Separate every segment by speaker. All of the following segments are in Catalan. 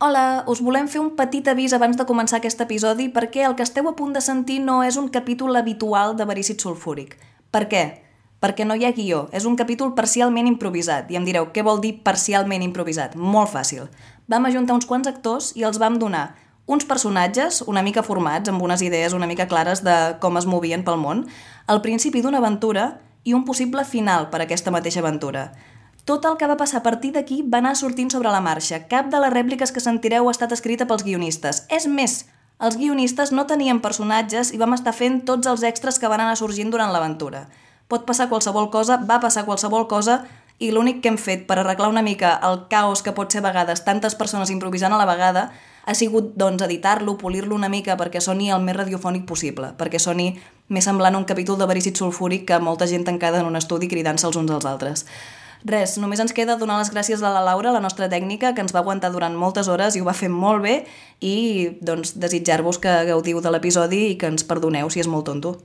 Speaker 1: Hola, us volem fer un petit avís abans de començar aquest episodi perquè el que esteu a punt de sentir no és un capítol habitual de Verícit Sulfúric. Per què? Perquè no hi ha guió, és un capítol parcialment improvisat. I em direu, què vol dir parcialment improvisat? Molt fàcil. Vam ajuntar uns quants actors i els vam donar uns personatges una mica formats, amb unes idees una mica clares de com es movien pel món, al principi d'una aventura i un possible final per a aquesta mateixa aventura. Tot el que va passar a partir d'aquí va anar sortint sobre la marxa. Cap de les rèpliques que sentireu ha estat escrita pels guionistes. És més, els guionistes no tenien personatges i vam estar fent tots els extras que van anar sorgint durant l'aventura. Pot passar qualsevol cosa, va passar qualsevol cosa, i l'únic que hem fet per arreglar una mica el caos que pot ser a vegades tantes persones improvisant a la vegada ha sigut doncs, editar-lo, polir-lo una mica perquè soni el més radiofònic possible, perquè soni més semblant a un capítol de verícit sulfúric que molta gent tancada en un estudi cridant-se els uns als altres. Res, només ens queda donar les gràcies a la Laura, la nostra tècnica, que ens va aguantar durant moltes hores i ho va fer molt bé, i doncs, desitjar-vos que gaudiu de l'episodi i que ens perdoneu si és molt tonto.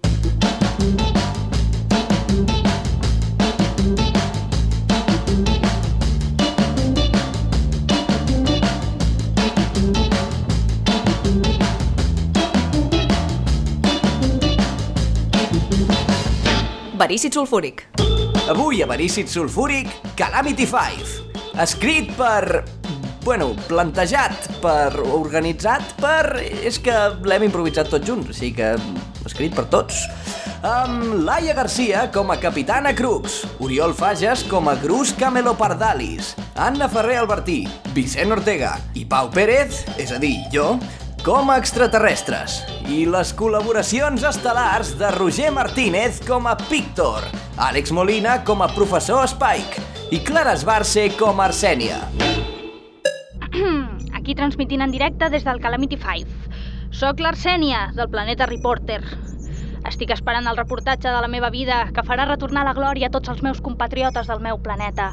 Speaker 1: Verícit sulfúric.
Speaker 2: Avui a Verícit Sulfúric, Calamity 5. Escrit per... Bueno, plantejat per... organitzat per... És que l'hem improvisat tots junts, així que... escrit per tots. Amb Laia Garcia com a Capitana Crux, Oriol Fages com a Grus Camelopardalis, Anna Ferrer Albertí, Vicent Ortega i Pau Pérez, és a dir, jo, com a extraterrestres i les col·laboracions estel·lars de Roger Martínez com a Pictor, Àlex Molina com a professor Spike i Clara Esbarce com a Arsènia.
Speaker 3: Aquí transmitint en directe des del Calamity 5. Soc l'Arsènia, del planeta Reporter. Estic esperant el reportatge de la meva vida que farà retornar la glòria a tots els meus compatriotes del meu planeta.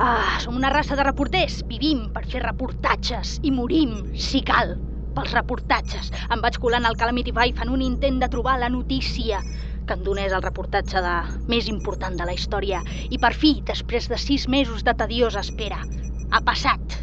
Speaker 3: Ah, som una raça de reporters. Vivim per fer reportatges i morim, si cal, pels reportatges. Em vaig colant al Calamity 5 en un intent de trobar la notícia que em donés el reportatge de... més important de la història. I per fi, després de sis mesos de tediosa espera, ha passat.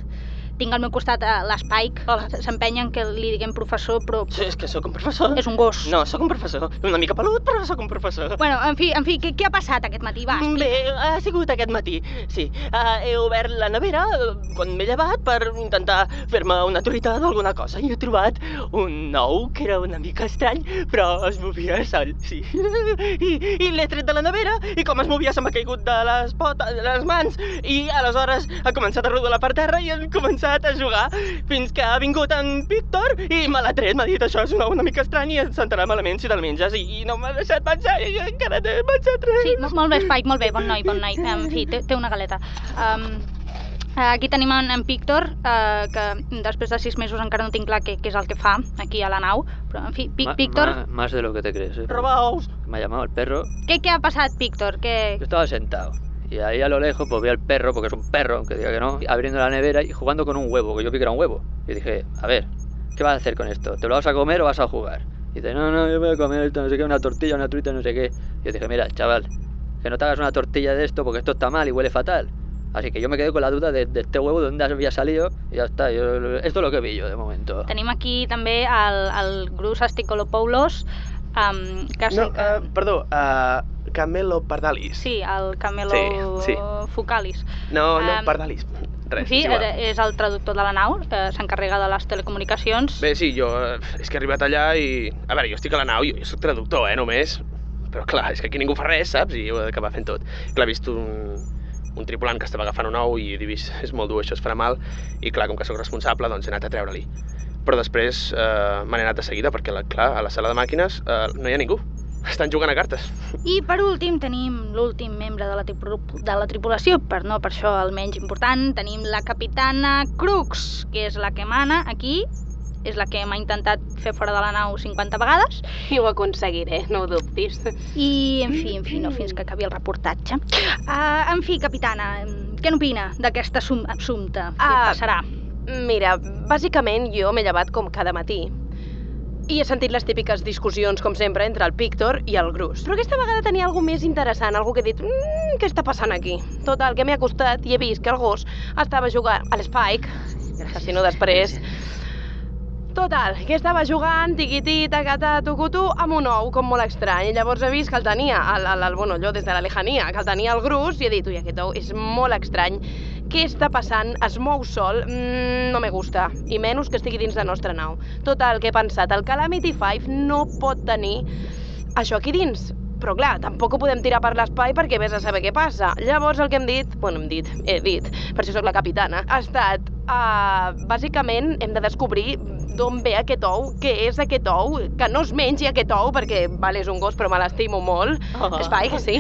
Speaker 3: Tinc al meu costat eh, l'Spike, Hola, s'empenyen que li diguem professor, però
Speaker 4: Sí, és que sóc un professor.
Speaker 3: és un gos.
Speaker 4: No, sóc un professor. Una mica pelut, però sóc un professor.
Speaker 3: Bueno, en fi, en fi, què, què ha passat aquest matí? Va, explica.
Speaker 4: Mm, Bé, ha sigut aquest matí, sí. Uh, he obert la nevera eh, quan m'he llevat per intentar fer-me una truita d'alguna cosa i he trobat un nou que era una mica estrany, però es movia sol, sí. I, i l'he tret de la nevera i com es movia se m'ha caigut de les potes, de les mans i aleshores ha començat a rodolar per terra i han començat a jugar fins que ha vingut en Víctor i me l'ha tret, m'ha dit això és una, una mica estrany i et sentarà malament si te'l menges i, i no m'ha deixat pensar i encara no he pensat res.
Speaker 3: Sí, mo- molt bé, Spike, molt bé, bon noi, bon noi. En fi, té, té una galeta. Um, aquí tenim en, en Pictor, uh, que després de sis mesos encara no tinc clar què, què és el que fa aquí a la nau, però en fi, Pic,
Speaker 5: Ma-
Speaker 3: Pictor,
Speaker 5: ma- Más de lo que te crees. ¿eh?
Speaker 4: Roba ous.
Speaker 5: Me ha llamado el perro.
Speaker 3: què, què ha passat, Pictor?
Speaker 5: Yo
Speaker 3: Que...
Speaker 5: estaba sentado. Y ahí a lo lejos pues vi al perro, porque es un perro, aunque diga que no, abriendo la nevera y jugando con un huevo, que yo vi que era un huevo. Y dije, a ver, ¿qué vas a hacer con esto? ¿Te lo vas a comer o vas a jugar? Y dice, no, no, yo voy a comer esto, no sé qué, una tortilla, una truita, no sé qué. Y yo dije, mira, chaval, que no te hagas una tortilla de esto porque esto está mal y huele fatal. Así que yo me quedé con la duda de, de este huevo, de dónde había salido, y ya está. yo- esto es lo que vi yo de momento.
Speaker 3: Tenim aquí també el, el Grus Asticolopoulos, um, que, sí,
Speaker 6: No,
Speaker 3: que...
Speaker 6: uh, perdó, uh, Camelo Pardalis.
Speaker 3: sí, el Camelo
Speaker 6: Sí, sí.
Speaker 3: Focalis.
Speaker 6: No, no,
Speaker 3: Em,
Speaker 6: Pardalis. Res,
Speaker 3: en fi,
Speaker 6: és igual.
Speaker 3: eh, és el traductor de la nau, eh, s'encarrega de les telecomunicacions.
Speaker 6: Bé, sí, jo eh, és que he arribat allà i... A veure, jo estic a la nau, jo, jo soc traductor, eh, només. Però clar, és que aquí ningú fa res, saps? I ho he d'acabar fent tot. Clar, he vist un, un tripulant que estava agafant un ou i he vist, és molt dur, això es farà mal. I clar, com que sóc responsable, doncs he anat a treure-li. Però després eh, me n'he anat de seguida perquè, la, clar, a la sala de màquines eh, no hi ha ningú. Estan jugant a cartes.
Speaker 3: I per últim tenim l'últim membre de la, tripru- de la tripulació, per no per això el menys important, tenim la capitana Crux, que és la que mana aquí, és la que m'ha intentat fer fora de la nau 50 vegades,
Speaker 7: I ho aconseguiré, no ho dubtis.
Speaker 3: i en fi, en fi, no, fins que acabi el reportatge. Uh, en fi, capitana, mm, què n'opina d'aquest assum assumpte? Què
Speaker 7: Ah,
Speaker 3: passarà?
Speaker 7: Mira, bàsicament jo m'he llevat com cada matí. I he sentit les típiques discussions, com sempre, entre el Píctor i el Grus. Però aquesta vegada tenia alguna més interessant, algú que he dit, "Mm, mmm, què està passant aquí? Total, que m'he acostat i he vist que el gos estava jugant a l'Spike que si no després... Total, que estava jugant, tiquití, tacatà, tucutú, amb un ou, com molt estrany. I llavors he vist que el tenia, el, el, el, bueno, allò des de la lejania, que el tenia al grus, i he dit, ui, aquest ou és molt estrany. Què està passant? Es mou sol? Mm, no me gusta. I menys que estigui dins la nostra nau. Total, que he pensat, el Calamity 5 no pot tenir això aquí dins. Però clar, tampoc ho podem tirar per l'espai perquè vés a saber què passa. Llavors el que hem dit, bueno, hem dit, he dit, per això sóc la capitana, ha estat, uh, bàsicament hem de descobrir d'on ve aquest ou, què és aquest ou, que no es mengi aquest ou perquè, vale, és un gos però me l'estimo molt,
Speaker 4: Ah.
Speaker 7: Spike, sí.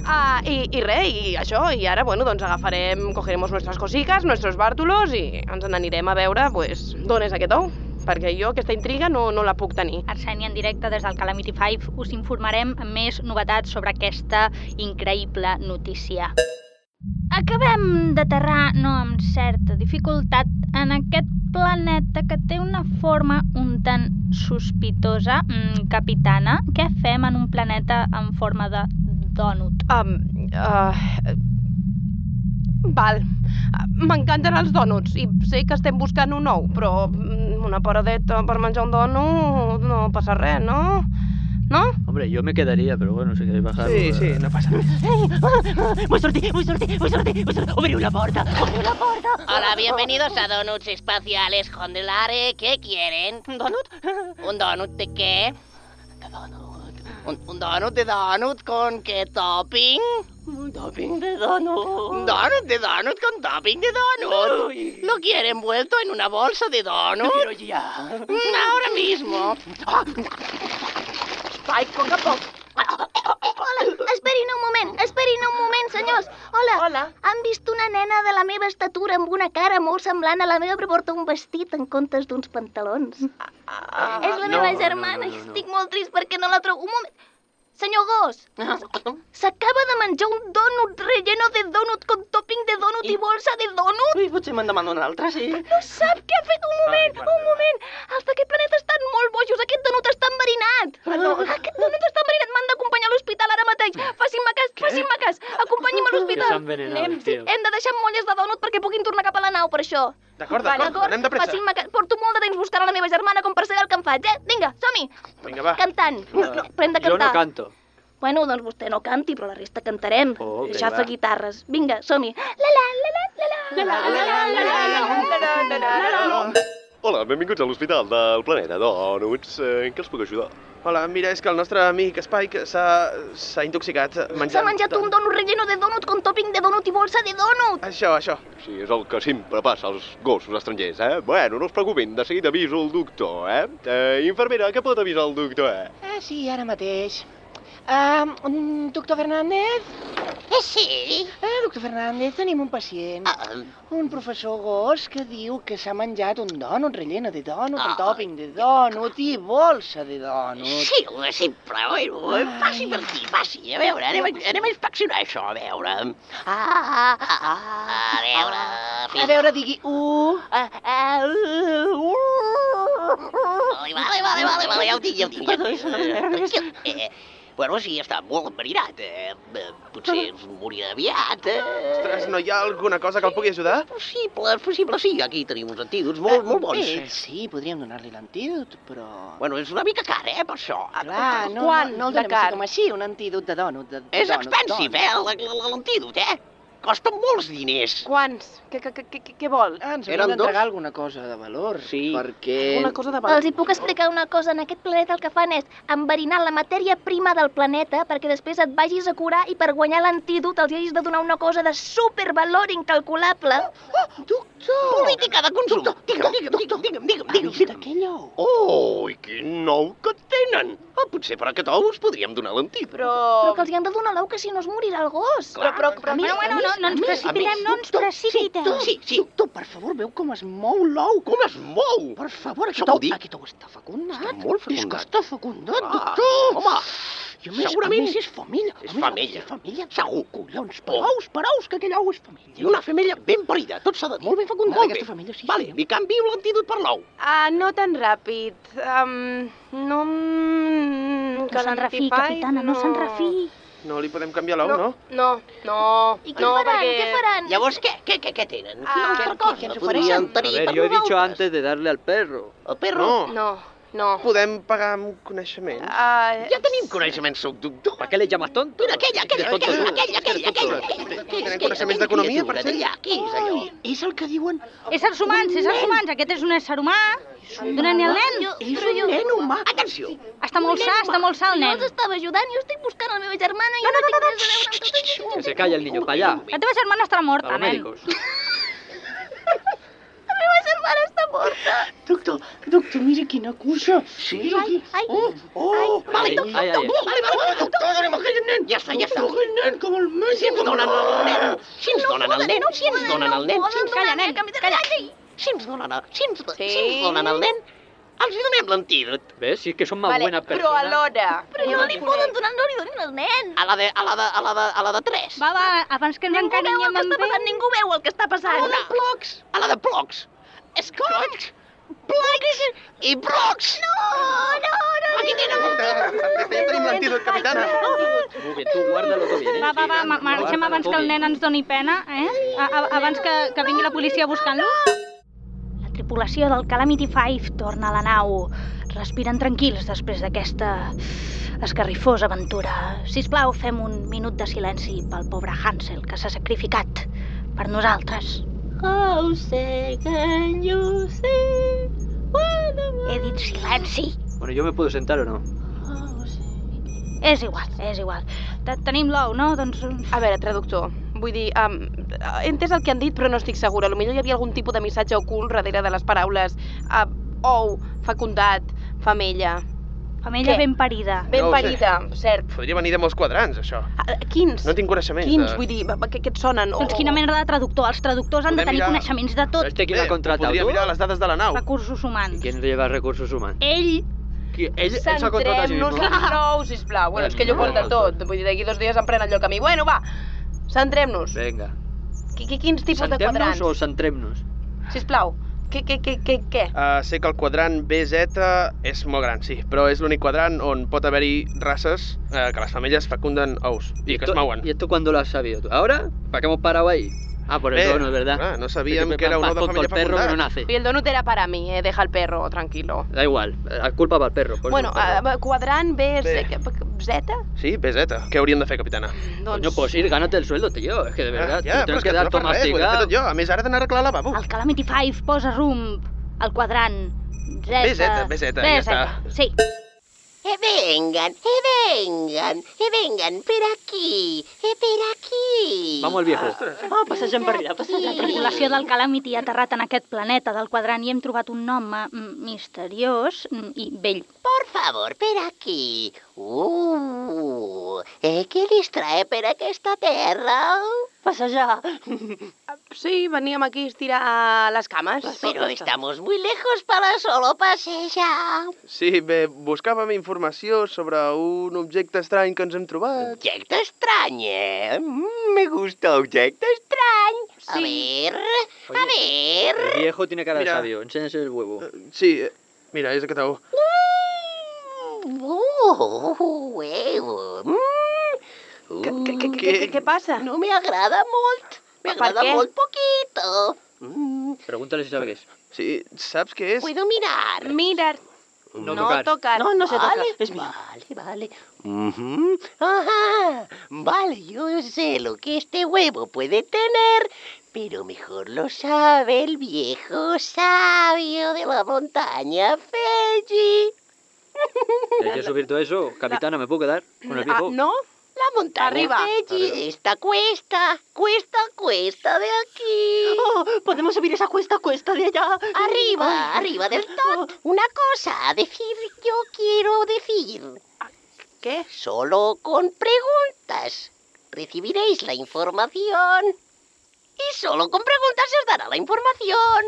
Speaker 7: Uh, i, I res, i això, i ara, bueno, doncs agafarem, cogeremos nuestras cosiques, nuestros bártulos i ens n'anirem a veure, pues, d'on és aquest ou perquè jo aquesta intriga no, no la puc tenir.
Speaker 3: Arsènia en directe des del Calamity 5 us informarem amb més novetats sobre aquesta increïble notícia. Acabem d'aterrar, no amb certa dificultat, en aquest planeta que té una forma un tant sospitosa, mm, capitana. Què fem en un planeta en forma de dònut?
Speaker 7: Um, uh, val. Ah, M'encanten els dònuts i sé que estem buscant un ou, però mm, una paradeta per menjar un dònut no passa res, no? No?
Speaker 5: Hombre, yo me quedaría, pero bueno, si queréis bajar...
Speaker 6: Sí,
Speaker 5: pues,
Speaker 6: sí, no passa res.
Speaker 4: Vull sortir, vull sortir, vull sortir, vull sortir. Obriu la porta, obriu la porta.
Speaker 8: Hola, bienvenidos a Donuts Espaciales Jondelare. ¿Qué quieren?
Speaker 4: Donut?
Speaker 8: ¿Un donut de qué?
Speaker 4: De donut.
Speaker 8: ¿Un, un donut de donut con qué topping?
Speaker 4: Un topping de donut.
Speaker 8: ¿Un donut de donut con topping de donut?
Speaker 4: Uy.
Speaker 8: ¿Lo quieren envuelto en una bolsa de donut?
Speaker 4: Pero ya.
Speaker 8: Mm, Ahora mismo.
Speaker 4: Spike, poc a poc.
Speaker 9: Hola, esperin un moment, esperin un moment, senyors. Hola.
Speaker 4: Hola.
Speaker 9: Han vist una nena de la meva estatura amb una cara molt semblant a la meva, però porta un vestit en comptes d'uns pantalons.
Speaker 4: Ah,
Speaker 9: És la
Speaker 5: no,
Speaker 9: meva
Speaker 5: no,
Speaker 9: germana
Speaker 5: no, no,
Speaker 9: i
Speaker 5: no.
Speaker 9: estic molt trist perquè no la trobo. Un moment. Senyor gos,
Speaker 4: Ah.
Speaker 9: s'acaba de menjar un dònut relleno de dònut con topping de dònut i,
Speaker 4: I-
Speaker 9: bolsa de dònut?
Speaker 4: Ui, potser me'n demano un altre, sí.
Speaker 9: No sap què ha fet. Un moment,
Speaker 6: Ai, mare
Speaker 9: un moment. Els d'aquest planeta estan molt bojos. Aquest dònut està enverinat. Ah, no, aquest dònut està enverinat. M'han d'acompanyar a l'hospital ara mateix. Facin-me cas, facin-me cas. Acompanyi'm a
Speaker 5: Que s'ha
Speaker 9: l'hospital.
Speaker 5: envenenado,
Speaker 9: Hem,
Speaker 5: tio.
Speaker 9: hem de deixar molles de dònut perquè puguin tornar cap a la nau, per això.
Speaker 6: D'acord, d'acord, anem de pressa.
Speaker 9: Facin-me cas. Porto molt de temps buscant a la meva germana com per saber el que em faig, eh? Vinga, som-hi.
Speaker 6: Vinga, va.
Speaker 9: Cantant.
Speaker 5: No, no.
Speaker 9: Però hem de
Speaker 5: Yo
Speaker 9: cantar.
Speaker 5: no canto.
Speaker 9: Bueno, doncs vostè no canti, però la resta cantarem.
Speaker 5: Oh, ok,
Speaker 9: Deixar
Speaker 5: va.
Speaker 9: fer guitarres. Vinga, som-hi. La la la la la la la la la la
Speaker 10: Hola, benvinguts a l'Hospital del Planeta Donuts. Eh, en què els puc ajudar?
Speaker 6: Hola, mira, és que el nostre amic Spike s'ha s'ha intoxicat eh, menjant...
Speaker 9: S'ha menjat un donut relleno de donut con topping de donut i bolsa de donut.
Speaker 6: Això, això.
Speaker 10: Sí, és el que sempre passa als gossos estrangers, eh? Bueno, no es preocupin, de seguida aviso el doctor, eh? eh infermera, que pot avisar el doctor, eh?
Speaker 11: Ah, sí, ara mateix. Ah, mm, doctor Fernández?
Speaker 8: Eh, Sí.
Speaker 11: Ah, doctor Fernández, tenim un pacient.
Speaker 8: Ah,
Speaker 11: Un professor gos que diu que s'ha menjat un dònut relleno de dònut,
Speaker 8: Ah.
Speaker 11: un tòping de dònut i bolsa de dònut.
Speaker 8: sí, sí, però bueno, passi per aquí, passi. A veure, anem, a- anem a inspeccionar això, a veure. Ah, ah, ah, a veure...
Speaker 11: A veure, digui u.
Speaker 8: Ah, ah, uh, Vale, vale, vale, vale, vale, ja ho tinc, ja ho tinc. Ja ho tinc. Tranquil. Eh, eh, bueno, sí, està molt enverinat. Eh, eh, potser es morirà aviat. Eh.
Speaker 6: Ostres, no hi ha alguna cosa que el pugui ajudar?
Speaker 8: És possible, és possible, sí, aquí tenim uns antídots molt, molt
Speaker 5: Eh,
Speaker 8: bons.
Speaker 11: Sí, podríem donar-li l'antídot, però...
Speaker 8: Bueno, és una mica car, eh, per això.
Speaker 7: Doncs,
Speaker 11: Clar, no,
Speaker 7: Quant
Speaker 11: no, no el
Speaker 7: de
Speaker 11: donem
Speaker 7: car?
Speaker 11: així com així, un antídot de dònut. De, de
Speaker 8: És
Speaker 11: dònut,
Speaker 7: doncs.
Speaker 8: expensive, eh, la- la- l'antídot, eh? Costa molts diners.
Speaker 7: Quants? Què, què, què, què- què vol?
Speaker 11: Ah, ens
Speaker 8: Eren
Speaker 11: hauria
Speaker 8: dos?
Speaker 11: d'entregar alguna cosa de valor,
Speaker 8: Sí.
Speaker 11: perquè...
Speaker 8: Eh,
Speaker 7: Una cosa de
Speaker 9: Els
Speaker 7: val.
Speaker 9: hi puc explicar una cosa. En aquest planeta el que fan és enverinar la matèria prima del planeta perquè després et vagis a curar i per guanyar l'antídot els hi hagis de donar una cosa de supervalor incalculable.
Speaker 8: Ah, Política de consum. Digue'm, digue'm, digue'm, digue'm, digue'm, digue'm, digue'm.
Speaker 11: Aquell ou.
Speaker 8: Oh,
Speaker 10: Ui, quin nou que tenen! Ah, potser per aquest ou us podríem donar l'antídot.
Speaker 7: Però...
Speaker 9: Però que els hi han de donar l'ou que si no es morirà el gos.
Speaker 7: Però, però, però,
Speaker 3: Bueno, bueno, no, no ens precipitem, no ens precipitem.
Speaker 8: Sí, sí.
Speaker 11: Doctor, per favor, veu com es mou l'ou?
Speaker 10: Com es mou?
Speaker 11: Per favor,
Speaker 10: Això
Speaker 11: aquest
Speaker 10: vol
Speaker 11: ou,
Speaker 10: dir-
Speaker 11: aquest ou està fecundat.
Speaker 10: Està molt
Speaker 11: És que
Speaker 10: fecundat.
Speaker 11: està fecundat,
Speaker 10: Ah,
Speaker 11: doctor.
Speaker 10: home,
Speaker 11: Jo més,
Speaker 10: segurament
Speaker 11: a més, és família.
Speaker 10: és
Speaker 11: A més,
Speaker 10: femella.
Speaker 11: És família.
Speaker 10: Segur.
Speaker 11: Collons,
Speaker 10: Oh.
Speaker 11: per ous, per ous, que aquell ou és família.
Speaker 10: I una femella ben parida, tot s'ha de dir.
Speaker 11: Molt ben fecundada,
Speaker 10: Molt
Speaker 11: aquesta
Speaker 10: bé.
Speaker 11: femella, sí.
Speaker 10: Vale, li canvio l'antídot per l'ou.
Speaker 7: Ah, no tan ràpid. Um, no... mm,
Speaker 3: No se'n refi,
Speaker 7: Calentify,
Speaker 3: capitana, no se'n refi.
Speaker 6: No li podem canviar l'ou, no?
Speaker 7: No, no,
Speaker 9: I què
Speaker 7: no,
Speaker 9: faran?
Speaker 7: perquè...
Speaker 9: Què faran?
Speaker 8: Llavors, què, què, què, què tenen? Quina
Speaker 7: Ah,
Speaker 8: altra
Speaker 7: què
Speaker 8: cosa
Speaker 7: ens
Speaker 8: podrien
Speaker 7: ofereixen?
Speaker 5: A
Speaker 8: tenir
Speaker 5: ver,
Speaker 8: per
Speaker 5: yo he dicho
Speaker 8: nosaltres?
Speaker 5: antes de darle al perro.
Speaker 8: El perro?
Speaker 6: No.
Speaker 7: No, no.
Speaker 6: Podem pagar amb coneixement.
Speaker 7: Uh,
Speaker 8: Ja tenim coneixement, sóc doctor.
Speaker 5: ¿Para qué le llamas tonto?
Speaker 8: Mira, aquella, aquella,
Speaker 5: Tonto
Speaker 8: aquella,
Speaker 5: tú.
Speaker 8: aquella, aquella, aquella, aquella. Què és,
Speaker 6: Tenen
Speaker 8: què és,
Speaker 6: coneixements
Speaker 8: aquella
Speaker 6: d'economia,
Speaker 8: criatura
Speaker 6: potser?
Speaker 8: d'allà? Què és allò? És el que diuen...
Speaker 3: Éssers humans, éssers humans. Aquest és un ésser humà. Dona ni al nen.
Speaker 8: És un nen humà. Atenció!
Speaker 3: Està molt sa, està molt sa el
Speaker 9: No
Speaker 3: nen.
Speaker 9: els estava ajudant, jo estic buscant la meva germana i no, tinc res a veure amb tot això.
Speaker 5: Que se calla el niño, para allá.
Speaker 3: La teva germana estarà
Speaker 5: A
Speaker 3: morta,
Speaker 5: los
Speaker 3: nen.
Speaker 5: médicos.
Speaker 9: La meva germana està morta.
Speaker 11: Doctor, doctor, mira quina cuixa.
Speaker 8: Sí?
Speaker 9: Ai, ai,
Speaker 8: Oh, vale,
Speaker 5: Ai,
Speaker 8: doctor,
Speaker 5: ai, ai.
Speaker 8: doctor, vale, vale, vale, doctor, donem aquell nen. Ja està, ja està. Aquell nen, com el meu. Si ens donen el nen, si ens donen el nen, si ens donen el nen, si ens
Speaker 9: calla, nen, calla.
Speaker 8: si ens donen el, si ens,
Speaker 7: Sí.
Speaker 8: si ens donen el nen, els donem l'antídot.
Speaker 5: ¿Ves? Si es que son más buenas
Speaker 7: però
Speaker 5: personas.
Speaker 7: alhora...
Speaker 9: Però no li poden donar, no li donin al nen.
Speaker 8: A la de, a la de, a la de, a la de tres.
Speaker 3: Va, va, abans que ens
Speaker 9: Ningú veu el
Speaker 3: encarinyem
Speaker 9: que
Speaker 3: amb
Speaker 9: està
Speaker 3: ell.
Speaker 9: passant, ningú veu el que està
Speaker 8: A
Speaker 9: passant.
Speaker 8: la de plocs. A la de plocs. Esclocs. Plocs i brocs.
Speaker 9: No, no,
Speaker 8: Aquí tenen un
Speaker 10: Ja tenim l'antídot, capitana.
Speaker 5: Muy bien, tú guárdalo todo bien, ¿eh?
Speaker 3: Va, va, va, ma- marxem
Speaker 5: Guárdalo
Speaker 3: abans
Speaker 5: todo
Speaker 3: que el
Speaker 5: bien.
Speaker 3: nen ens doni pena, eh? A, a, abans que, que vingui la policia buscant-lo. La tripulació del Calamity Five torna a la nau. Respiren tranquils després d'aquesta escarrifosa aventura. Si plau, fem un minut de silenci pel pobre Hansel, que s'ha sacrificat per nosaltres.
Speaker 9: Oh, say, can you see what
Speaker 3: He dit silenci.
Speaker 5: Bueno, ¿yo me puedo sentar o no?
Speaker 3: És igual, és igual. Te- Tenim l'ou, no? Doncs...
Speaker 7: A veure, traductor, vull dir, um, he entès el que han dit, però no estic segura. A lo millor hi havia algun tipus de missatge ocult darrere de les paraules uh, ou, fecundat, femella,
Speaker 3: Femella
Speaker 7: Què?
Speaker 3: ben parida.
Speaker 7: ben
Speaker 6: No ho sé.
Speaker 7: parida, cert.
Speaker 6: Podria venir de molts quadrants, això.
Speaker 3: eh,
Speaker 7: Ah, Quins?
Speaker 6: No tinc coneixement.
Speaker 7: Quins?
Speaker 6: de-
Speaker 7: Vull dir, què, què et sonen?
Speaker 3: Doncs quina mena de traductor? Els traductors han de
Speaker 6: Podem
Speaker 3: tenir
Speaker 6: mirar-
Speaker 3: coneixements de tot.
Speaker 5: Este quién lo
Speaker 6: Bé,
Speaker 5: ha contratado,
Speaker 6: Podria
Speaker 5: tú?
Speaker 6: mirar les dades de la nau.
Speaker 3: Recursos humans.
Speaker 5: ¿Quién lleva recursos humanos?
Speaker 3: Ell
Speaker 5: ¿Qui- Él, él se ha contratado a sí mismo.
Speaker 7: Centrem-nos en nou, sisplau. Bueno, és que ell ho
Speaker 5: Bueno,
Speaker 7: porta tot. Vull dir, d'aquí dos dies em pren allò que a mi. Bueno, va, centrem-nos.
Speaker 5: Venga.
Speaker 7: Qui- qui- Quins tipus de
Speaker 5: ¿Santemnos
Speaker 7: quadrants?
Speaker 5: o santremnos?
Speaker 7: Sisplau, què, què, què, què, què?
Speaker 6: Uh, sé que el quadrant BZ és molt gran, sí, però és l'únic quadrant on pot haver-hi races eh, que les femelles fecunden ous i que
Speaker 5: Esto-
Speaker 6: es mouen.
Speaker 5: ¿Y esto cuándo lo has sabido tú? ¿Ahora? ¿Para qué hemos parado ahí? Ah, por el
Speaker 6: Bé,
Speaker 5: dono, es verdad.
Speaker 6: clar, Eh, no
Speaker 5: Es
Speaker 6: sabíem
Speaker 5: me
Speaker 6: que era un
Speaker 5: pan
Speaker 6: ou de
Speaker 5: tonto el
Speaker 6: femella
Speaker 5: perro que no
Speaker 6: fecundada.
Speaker 5: nace.
Speaker 7: I el donut era per a mi, eh? Deja el perro, tranquilo.
Speaker 5: Da igual, eh, la culpa para el perro. por
Speaker 7: Bueno,
Speaker 5: eso
Speaker 6: ah.
Speaker 5: el perro.
Speaker 7: eh, quadrant B,
Speaker 6: Bé.
Speaker 7: Z? Z?
Speaker 6: Sí, BZ. Què hauríem de fer, capitana?
Speaker 7: Doncs...
Speaker 5: Coño, pues ir, gánate el sueldo, tío. Es que de verdad,
Speaker 6: Ah, ja,
Speaker 5: te
Speaker 6: però
Speaker 5: tienes
Speaker 6: és
Speaker 5: que
Speaker 6: que
Speaker 5: dar
Speaker 6: no fa
Speaker 5: todo
Speaker 6: res, ho he de fer
Speaker 5: masticado.
Speaker 6: tot jo. A més, ara he d'anar a arreglar el lavabo.
Speaker 3: El Calamity Five posa rumb al quadrant Z.
Speaker 6: BZ, BZ, ja està.
Speaker 3: Sí.
Speaker 8: Que E vengan, que vengan, que vengan per aquí, que per aquí.
Speaker 5: Vamos al viejo.
Speaker 8: Oh, passegen per allà,
Speaker 3: La tripulació del Calamity ha aterrat en aquest planeta del quadrant i hem trobat un nom eh, mm, misteriós mm, i vell.
Speaker 8: Por favor, per aquí. Uh, eh, què les trae per aquesta terra?
Speaker 11: Passejar.
Speaker 7: Sí, veníem aquí a estirar les cames.
Speaker 8: Però estamos muy lejos para solo pasejar.
Speaker 6: Sí, bé, buscàvem informació sobre un objecte estrany que ens hem trobat.
Speaker 8: Objecte estrany, eh? Mm, Me gusta objecte estrany. A ver, a ver...
Speaker 5: El viejo tiene cara de
Speaker 6: Mira.
Speaker 5: sabio, enséñese el huevo.
Speaker 6: Sí, eh, mira, és aquest ou.
Speaker 8: Uh, huevo. Mm.
Speaker 7: Què, què, què,
Speaker 8: Uh,
Speaker 7: què, què passa?
Speaker 8: No me agrada molt. Me
Speaker 7: Per
Speaker 8: agrada
Speaker 7: què?
Speaker 8: molt poquito. Mm,
Speaker 5: Pregúntale si sabe qué es.
Speaker 6: Sí, saps què és?
Speaker 8: puedo mirar.
Speaker 7: Mirar,
Speaker 5: No,
Speaker 7: no
Speaker 5: tocar.
Speaker 7: tocar.
Speaker 11: No, no se toca.
Speaker 8: vale,
Speaker 11: És mío.
Speaker 8: vale, vale.
Speaker 6: Mhm.
Speaker 8: Ujú. Ajá. Vale, yo sé lo que este huevo puede tener, pero mejor lo sabe el viejo sabio de la montaña Feji.
Speaker 5: Hay que subir todo eso. Capitana, ¿me puedo quedar con el
Speaker 7: Ah,
Speaker 5: viejo?
Speaker 7: no?
Speaker 8: La montaña
Speaker 7: Arriba.
Speaker 8: Feji, esta cuesta, cuesta, cuesta de aquí.
Speaker 11: Oh, podemos subir esa cuesta, cuesta de allá. Oh.
Speaker 8: Arriba, arriba del tot. Una cosa a decir, yo quiero decir.
Speaker 11: Ah,
Speaker 7: ¿Qué?
Speaker 8: Solo con preguntas recibiréis la información. Y solo con preguntas se os dará la información.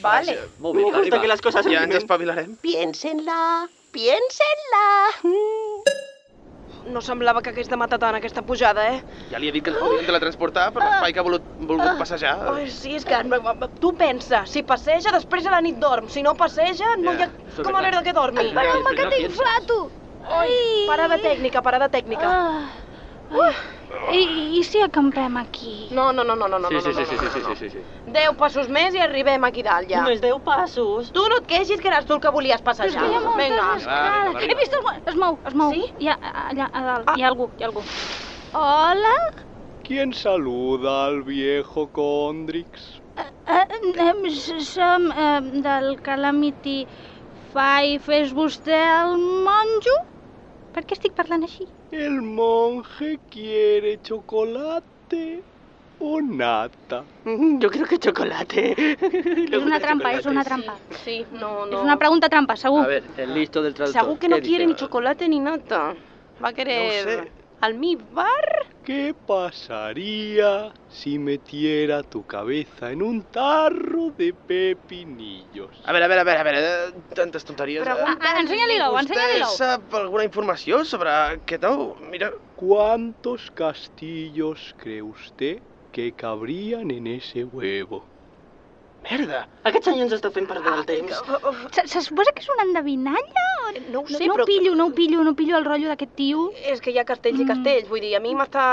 Speaker 7: Vale.
Speaker 5: Muy
Speaker 11: Me
Speaker 5: bien,
Speaker 11: gusta
Speaker 5: arriba.
Speaker 11: que las cosas se
Speaker 6: Ja ens
Speaker 11: olviden.
Speaker 6: espavilarem.
Speaker 8: Piénsenla, piénsenla.
Speaker 7: Mm. No semblava que hagués de matar tant aquesta pujada, eh?
Speaker 6: Ja li he dit que ens podíem teletransportar per l'espai que ha volut,
Speaker 7: Ah.
Speaker 6: volgut passejar.
Speaker 7: Ai, sí, és que tu pensa, si passeja, després a la nit dorm. Si no passeja, no hi ha
Speaker 5: eso es
Speaker 7: com a
Speaker 5: verdad.
Speaker 7: manera que dormi.
Speaker 5: Però, home, que
Speaker 9: t'inflato!
Speaker 7: Ai, parada tècnica, parada tècnica.
Speaker 9: Ah,
Speaker 3: I, I si acampem aquí?
Speaker 7: No, no, no, no, no, no,
Speaker 5: Sí,
Speaker 7: no,
Speaker 5: sí, sí,
Speaker 7: no,
Speaker 5: sí,
Speaker 7: no,
Speaker 5: sí,
Speaker 7: no,
Speaker 5: sí,
Speaker 7: no.
Speaker 5: sí, sí.
Speaker 7: Deu passos més i arribem aquí dalt, ja.
Speaker 4: Només deu passos.
Speaker 7: Tu no et queixis que eres tu el que volies passejar.
Speaker 3: Però és que hi ha moltes
Speaker 7: Vinga.
Speaker 3: escales. He vist algú... Es mou, es mou. Sí? Hi ha, allà, a dalt. Hi ha algú, hi ha algú. Hola?
Speaker 10: ¿Quién saluda al viejo Condrix?
Speaker 3: Eh, em, s- som eh, del Calamity Five. És vostè el monjo? Per què estic parlant així?
Speaker 10: El monje quiere chocolate o nata.
Speaker 4: Mm, Yo creo que chocolate.
Speaker 3: És una trampa, és una trampa.
Speaker 7: Sí, no,
Speaker 3: És
Speaker 7: no.
Speaker 3: una pregunta trampa, segur.
Speaker 5: A ver, el listo del traductor.
Speaker 7: Segur que no
Speaker 5: ¿qué
Speaker 7: quiere ni
Speaker 5: dice?
Speaker 7: chocolate ni nata. Va a querer...
Speaker 10: No ho sé.
Speaker 7: Almíbar?
Speaker 10: ¿Qué pasaría si metiera tu cabeza en un tarro de pepinillos?
Speaker 6: A veure, a veure, a veure, a veure, eh, tantes tonteries. eh?
Speaker 7: Pregunta.
Speaker 3: Ah, Ensenya-li l'ou,
Speaker 6: Vostè
Speaker 3: ensenya-li l'ou.
Speaker 6: sap alguna informació sobre aquest ou? Mira,
Speaker 10: ¿Cuántos castillos cree usted que cabrían en ese huevo?
Speaker 6: merda.
Speaker 4: Aquest senyor ens està fent perdre el temps.
Speaker 3: Se, se suposa que és una endevinalla? O...
Speaker 7: Eh, No ho sé,
Speaker 3: no,
Speaker 7: però-
Speaker 3: no pillo, no ho pillo, no pillo el rotllo d'aquest tio. Mm.
Speaker 7: És que hi ha castells i castells, vull dir, a mi m'està...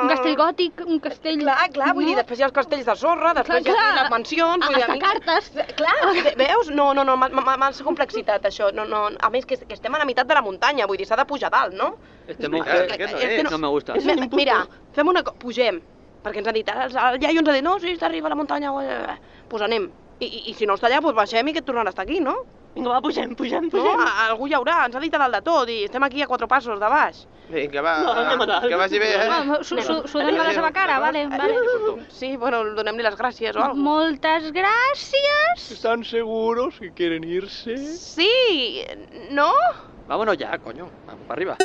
Speaker 3: Un castell gòtic, un castell...
Speaker 7: Clar, clar, vull dir, després hi ha els castells de sorra, després hi ha
Speaker 3: clar. Ah,
Speaker 7: les mansions... Vull dir, a
Speaker 3: Hasta
Speaker 7: mi...
Speaker 3: cartes.
Speaker 7: Clar,
Speaker 4: Ah,
Speaker 7: ve- veus? No, no, no, ma- ma- ma- massa complexitat, això. No, no, a més, que, que estem a la meitat de la muntanya, vull dir, s'ha de pujar dalt, no?
Speaker 5: Este
Speaker 6: Claro,
Speaker 5: monje
Speaker 6: aquest no
Speaker 7: és que
Speaker 5: no me gusta.
Speaker 7: És- Mira, fem una cosa, pugem, perquè ens ha dit, ara el- el iaio ens ha dit, no, si t'arriba a la muntanya, doncs pues anem. I, i, I si no està allà, doncs baixem i que tornarà a estar aquí, no?
Speaker 4: Vinga, va, pugem, pugem,
Speaker 7: no?
Speaker 4: pugem.
Speaker 7: A- Algú hi haurà, ens ha dit a dalt de tot i estem aquí a quatre passos de baix.
Speaker 6: Vinga, va,
Speaker 4: No, anem a dalt.
Speaker 6: Ah, que vagi bé, eh?
Speaker 3: Ah, S'ho s'ho- s'ho donem a la seva cara, vale, vale.
Speaker 7: Sí, bueno, donem-li les gràcies o alguna
Speaker 3: Moltes gràcies.
Speaker 10: ¿Están seguros que quieren irse?
Speaker 7: Sí, no?
Speaker 5: Vámonos ya, coño. Vamos para arriba.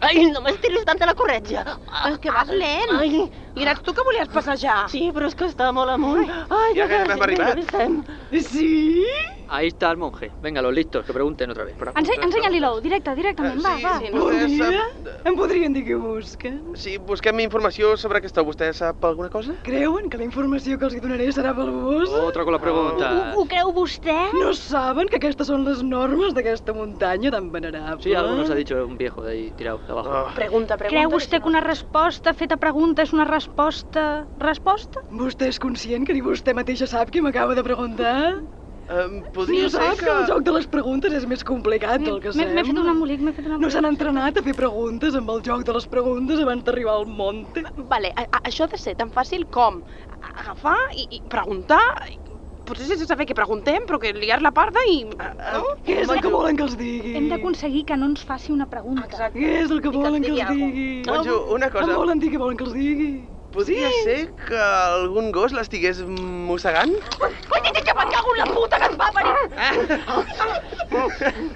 Speaker 4: Ai, no m'estiris tant de la corretja.
Speaker 7: Ah, és que vas lent.
Speaker 4: Ai,
Speaker 7: I eres tu que volies passejar.
Speaker 4: sí, però és que està molt amunt. Ai,
Speaker 6: Ja que hem arribat.
Speaker 4: arribat. Sí?
Speaker 5: Ahí está el monje. Venga, los listos, que pregunten otra vez.
Speaker 3: Ense- Ensenya-li l'ou, directe,
Speaker 4: Ah,
Speaker 3: directament, Ah, va, va.
Speaker 6: vostè
Speaker 7: sí.
Speaker 4: Bon dia.
Speaker 6: sap-
Speaker 4: Em podrien dir què busquen?
Speaker 6: Sí, busquem informació sobre aquest ou. Vostè sap alguna cosa?
Speaker 4: Creuen que la informació que els hi donaré serà valuosa?
Speaker 5: Otra con Oh, la pregunta.
Speaker 3: Ho creu vostè?
Speaker 4: No saben que aquestes són les normes d'aquesta muntanya tan venerable?
Speaker 5: Sí, algo
Speaker 6: ¿Eh?
Speaker 5: nos ha dicho un viejo de ahí tirado de abajo.
Speaker 6: Oh,
Speaker 7: Pregunta, pregunta.
Speaker 3: Creu vostè que una resposta feta a pregunta és una resposta... Resposta?
Speaker 4: Vostè és conscient que ni vostè mateixa sap què m'acaba de preguntar?
Speaker 6: em
Speaker 4: Sí,
Speaker 6: podria ser
Speaker 4: sap que
Speaker 6: que...
Speaker 4: el joc de les preguntes és més complicat del Ah, que
Speaker 3: M'he m'he fet un
Speaker 4: sembla.
Speaker 3: embolic, m'he fet un
Speaker 4: No
Speaker 3: embolic.
Speaker 4: s'han entrenat a fer preguntes amb el joc de les preguntes abans d'arribar al monte.
Speaker 7: Vale, a, a, això ha de ser tan fàcil com a- agafar i, i preguntar, i, potser sense saber què preguntem, però que liar la parda i... eh, No?
Speaker 4: Què és el que volen que els digui?
Speaker 3: Hem d'aconseguir que no ens faci una pregunta.
Speaker 4: Què és el que
Speaker 7: I que
Speaker 4: volen
Speaker 7: ens
Speaker 4: que els
Speaker 7: digui
Speaker 4: digui?
Speaker 6: Monjo, una
Speaker 4: Em
Speaker 6: cosa.
Speaker 4: volen dir què volen que els digui?
Speaker 6: Podria ser que algun gos l'estigués mossegant?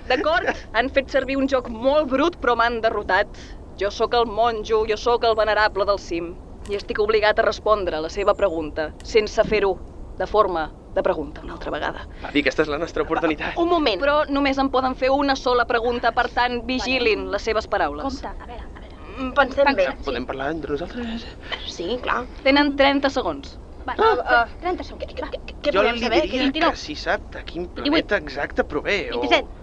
Speaker 1: D'acord, han fet servir un joc molt brut però m'han derrotat. Jo sóc el monjo, jo sóc el venerable del cim i estic obligat a respondre la seva pregunta, sense fer-ho de forma de pregunta una altra vegada.
Speaker 6: Va dir, aquesta és la nostra oportunitat.
Speaker 7: Un moment. Però...
Speaker 1: Però només em poden fer una sola pregunta, per tant, vigilin les seves paraules.
Speaker 3: Compte, a veure, a veure.
Speaker 7: mm, Pensem bé.
Speaker 6: Podem parlar entre nosaltres?
Speaker 7: Sí, clar.
Speaker 1: Tenen 30 segons.
Speaker 3: Va,
Speaker 7: Ah, ah.
Speaker 3: 30 segons, va.
Speaker 7: Què- Què
Speaker 6: Jo
Speaker 7: volem
Speaker 6: li
Speaker 7: saber?
Speaker 6: diria
Speaker 7: Que-
Speaker 6: que si sap de quin planeta exacte prové o...
Speaker 3: 27.
Speaker 6: Ah,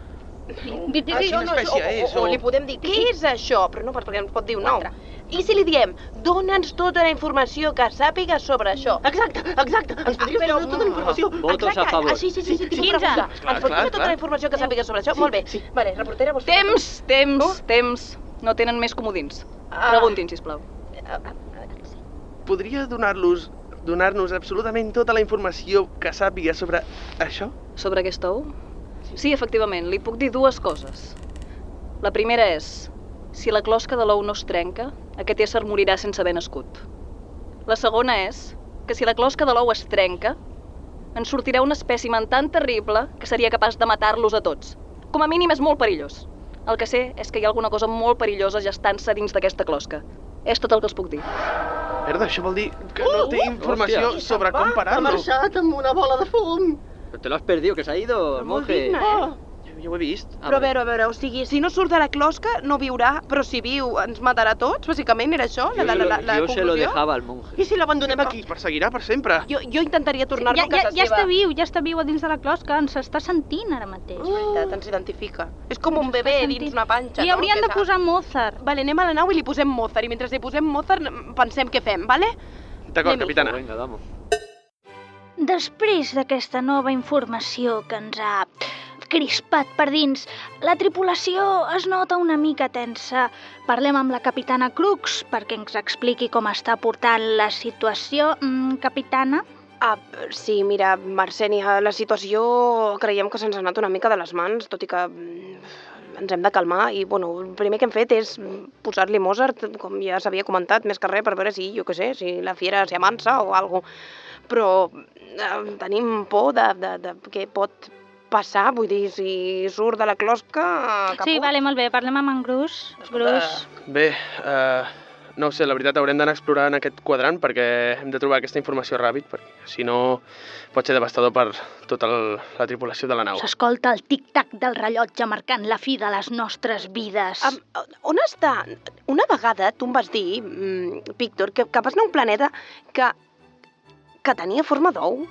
Speaker 7: Sí,
Speaker 6: quina
Speaker 7: no, no,
Speaker 6: espècie
Speaker 4: eh,
Speaker 7: o,
Speaker 6: és?
Speaker 7: o, o, li podem dir, què és això? Però no, perquè ens pot dir un nom. I si li diem, dona'ns tota la informació que sàpigues sobre això. Ah,
Speaker 4: Exacte, exacte. Ens podries
Speaker 7: Però-
Speaker 4: donar tota la informació.
Speaker 5: Votos a
Speaker 7: Exacte,
Speaker 5: favor.
Speaker 7: Ah, sí, sí, sí, sí, tinc
Speaker 3: 15.
Speaker 7: una pregunta.
Speaker 6: Clar,
Speaker 7: Ens
Speaker 6: clar,
Speaker 7: pot donar tota
Speaker 6: clar.
Speaker 7: la informació que sàpigues sobre això? Molt bé.
Speaker 4: sí.
Speaker 7: Vale, reportera, vols fer- Oh.
Speaker 1: Temps, temps, temps. No tenen més comodins.
Speaker 7: Ah.
Speaker 1: Preguntin, sisplau.
Speaker 6: Podria donar-los donar-nos absolutament tota la informació que sàpiga sobre això?
Speaker 1: Sobre aquest ou? Sí, efectivament, li puc dir dues coses. La primera és, si la closca de l'ou no es trenca, aquest ésser morirà sense haver nascut. La segona és que si la closca de l'ou es trenca, en sortirà un espècimen tan terrible que seria capaç de matar-los a tots. Com a mínim és molt perillós. El que sé és que hi ha alguna cosa molt perillosa gestant-se dins d'aquesta closca. És tot el que els puc dir.
Speaker 6: Merda, això vol dir que no
Speaker 7: Uh,
Speaker 6: té informació
Speaker 7: hòstia.
Speaker 6: sobre com
Speaker 7: Va,
Speaker 6: parar-lo.
Speaker 4: amb una bola de fum.
Speaker 5: Pero te lo has perdido, que se ha ido,
Speaker 7: Molt
Speaker 5: monje. Ah,
Speaker 7: digna, eh?
Speaker 6: jo ho Ah, he vist.
Speaker 7: Però a veure, a veure, o sigui, si no surt de la closca, no viurà, però si viu, ens matarà a tots, bàsicament, era això, la, la, la, la, la
Speaker 5: yo se lo
Speaker 7: conclusió?
Speaker 5: dejaba al monje.
Speaker 7: I si l'abandonem aquí?
Speaker 6: Ens perseguirà per sempre.
Speaker 7: Jo, jo intentaria tornar-lo
Speaker 3: Ja,
Speaker 7: a
Speaker 3: ja,
Speaker 7: casa
Speaker 3: ja
Speaker 7: seva.
Speaker 3: està viu, ja està viu a dins de la closca, ens està sentint ara mateix.
Speaker 7: És veritat, ens identifica. És com un bebè dins una panxa,
Speaker 3: Li haurien
Speaker 7: no?
Speaker 3: de posar Mozart.
Speaker 7: Vale, anem a la nau i li posem Mozart, i mentre li posem Mozart n- pensem què fem, vale?
Speaker 6: D'acord,
Speaker 7: Anem-hi.
Speaker 6: capitana.
Speaker 5: Venga, vamos.
Speaker 3: Després d'aquesta nova informació que ens ha crispat per dins, la tripulació es nota una mica tensa. Parlem amb la capitana Crux perquè ens expliqui com està portant la situació. Mm, capitana?
Speaker 7: Ah, sí, mira, Marcènia, la situació creiem que se'ns ha anat una mica de les mans, tot i que mm, ens hem de calmar i, bueno, el primer que hem fet és mm, posar-li Mozart, com ja s'havia comentat, més que res, per veure si, jo què sé, si la fiera s'hi amansa o alguna Però eh, tenim por de, de, de què pot passar, vull dir, si surt de la closca...
Speaker 5: Ah,
Speaker 7: eh, Caput.
Speaker 3: Sí, vale, molt bé, parlem amb en Grus. Grus.
Speaker 6: Bé, eh, no ho sé, la veritat haurem d'anar explorant aquest quadrant perquè hem de trobar aquesta informació ràpid, perquè si no pot ser devastador per tota el, la tripulació de la nau.
Speaker 3: S'escolta el tic-tac del rellotge marcant la fi de les nostres vides.
Speaker 7: Am-
Speaker 5: oh.
Speaker 7: On està? Una vegada tu em vas dir, mm, Víctor, que, que vas anar a un planeta que, que tenia forma d'ou.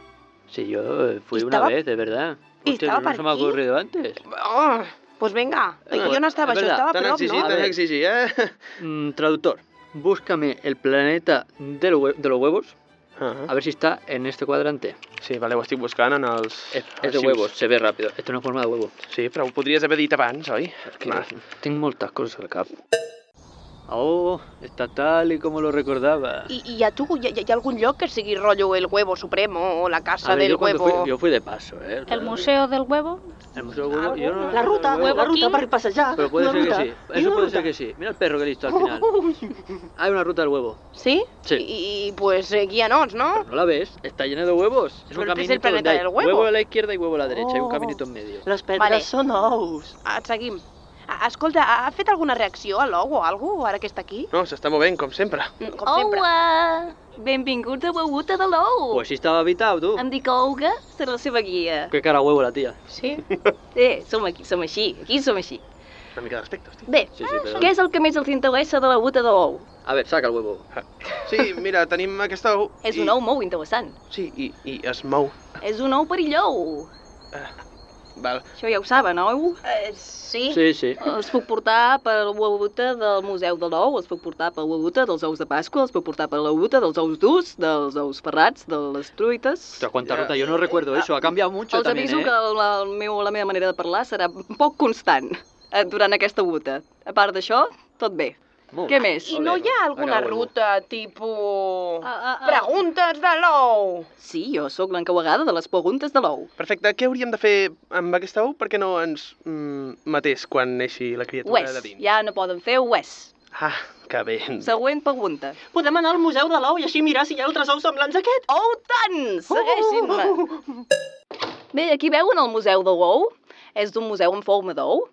Speaker 5: Sí, yo eh,
Speaker 7: ¿Y
Speaker 5: fui una
Speaker 7: estaba-
Speaker 5: vez, de verdad.
Speaker 7: ¿y
Speaker 5: Hostia,
Speaker 7: estaba
Speaker 5: no se me ha
Speaker 7: aquí?
Speaker 5: ocurrido antes.
Speaker 7: Oh, pues vinga,
Speaker 5: Eh,
Speaker 7: jo no estava,
Speaker 5: és
Speaker 7: això
Speaker 5: verdad,
Speaker 7: estava a
Speaker 6: T'han
Speaker 7: prop,
Speaker 6: exigit,
Speaker 7: no?
Speaker 5: A
Speaker 6: t'han
Speaker 5: ver.
Speaker 6: exigit, eh?
Speaker 5: Mm, traductor, búscame el planeta del hue- de los huevos,
Speaker 6: Ah,
Speaker 5: a ver si está en este cuadrante.
Speaker 6: sí, vale, ho estic buscant en els...
Speaker 5: Es, es
Speaker 6: els
Speaker 5: de
Speaker 6: sims.
Speaker 5: huevos, se ve rápido. Esto no es forma de huevo.
Speaker 6: Sí, però ho podries haver dit abans, oi?
Speaker 5: Que
Speaker 6: Va.
Speaker 5: Tengo muchas cosas al cap. Oh, está tal y como lo recordaba.
Speaker 7: I, I a tu hi ha, hi ha algun lloc que sigui rotllo el huevo supremo o la casa
Speaker 5: A ver,
Speaker 7: del
Speaker 5: yo, cuando
Speaker 7: huevo...
Speaker 5: fui, yo fui de paso, ¿eh?
Speaker 3: El Museo del Huevo?
Speaker 5: El museo del huevo. yo no-
Speaker 4: La ruta,
Speaker 5: huevo.
Speaker 4: la ruta
Speaker 3: aquí.
Speaker 4: per passejar.
Speaker 5: Pero puede
Speaker 4: la
Speaker 5: ser
Speaker 4: ruta.
Speaker 5: que sí. Eso puede ser que sí. Mira el perro que listo al final. Hay una ruta del huevo.
Speaker 7: Sí?
Speaker 5: Sí.
Speaker 7: I, i pues eh, guianos, no?
Speaker 5: ¿No la ves? Está llena de huevos. Es
Speaker 7: Pero
Speaker 5: un
Speaker 7: que es el
Speaker 5: caminito donde
Speaker 7: planeta
Speaker 5: hay
Speaker 7: del huevo.
Speaker 5: a la izquierda y huevo a la derecha. Hay un
Speaker 4: Oh.
Speaker 5: caminito en medio.
Speaker 4: Les pedres
Speaker 7: Vale.
Speaker 4: són ous.
Speaker 7: Ah, Et seguim. Ah, Escolta, ha ha fet alguna reacció a l'ou o alguna cosa, ara que està aquí?
Speaker 6: No, s'està movent, com sempre.
Speaker 7: Mm, Com sempre.
Speaker 9: Oua! Benvinguts a Beguta de l'Ou!
Speaker 5: Pues sí estaba habitado, tú.
Speaker 1: Em dic Olga, ser la seva guia.
Speaker 5: Qué cara huevo la tía.
Speaker 7: Sí?
Speaker 1: Eh, som aquí, som així, aquí som així.
Speaker 6: Una mica d'aspecte, hosti.
Speaker 1: Bé,
Speaker 5: Sí, sí, pero...
Speaker 1: què és el que més els interessa de la buta de l'ou?
Speaker 5: A ver, saca el huevo.
Speaker 6: Sí, mira, tenim aquesta ou...
Speaker 1: És
Speaker 6: i-
Speaker 1: un ou molt interessant.
Speaker 6: Sí, i, i es mou.
Speaker 1: És un ou perillou.
Speaker 6: Val.
Speaker 1: Això ja ho saben, oi?
Speaker 7: Eh, sí.
Speaker 5: Sí, sí.
Speaker 1: Els puc portar per la buta del Museu de l'Ou, els puc portar per la buta dels ous de Pasqua, els puc portar per la buta dels ous durs, dels ous ferrats, de les truites.
Speaker 5: Hostia, cuánta
Speaker 6: Ya.
Speaker 5: ruta. Yo no recuerdo
Speaker 7: Ah,
Speaker 5: eso. Ha cambiado mucho
Speaker 1: Els
Speaker 5: también,
Speaker 1: aviso
Speaker 5: ¿eh?
Speaker 1: que el, el meu, la meva manera de parlar serà poc constant eh, durant aquesta buta. A part d'això, tot bé.
Speaker 5: Molt
Speaker 1: Què
Speaker 5: bé. doncs.
Speaker 1: més?
Speaker 7: I no hi ha alguna
Speaker 5: Acabo,
Speaker 7: ruta tipus...
Speaker 3: ah,
Speaker 7: Preguntes de l'ou!
Speaker 1: Sí, jo sóc l'encauegada de les preguntes de l'ou.
Speaker 6: Perfecte, què hauríem de fer amb aquesta ou perquè no ens mm, matés quan neixi la
Speaker 1: Ho
Speaker 6: criatura
Speaker 1: és.
Speaker 6: de dins?
Speaker 1: Ja no poden fer, ho és.
Speaker 6: Ah, que bé.
Speaker 1: Següent pregunta.
Speaker 4: Podem anar al Museu de l'Ou i així mirar si hi ha altres ous semblants a aquest. Oh,
Speaker 1: Oh, tant! Segueixin-me! Bé, aquí veuen el Museu de l'Ou. És un museu en forma d'ou,